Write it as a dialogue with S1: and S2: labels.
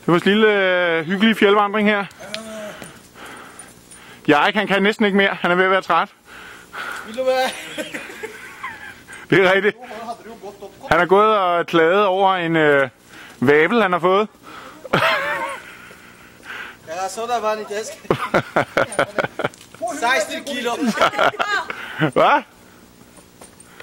S1: Det var vores lille øh, hyggelige fjeldvandring her. Jarek, han kan næsten ikke mere. Han er ved at være træt.
S2: Vil du være?
S1: Det er rigtigt.
S2: Hvordan hadde du jo gått opp?
S1: Han er gået og klaget over en øh, vabel, han har fået.
S2: Jeg så der var en i desk. 16 kilo.
S1: Hvad?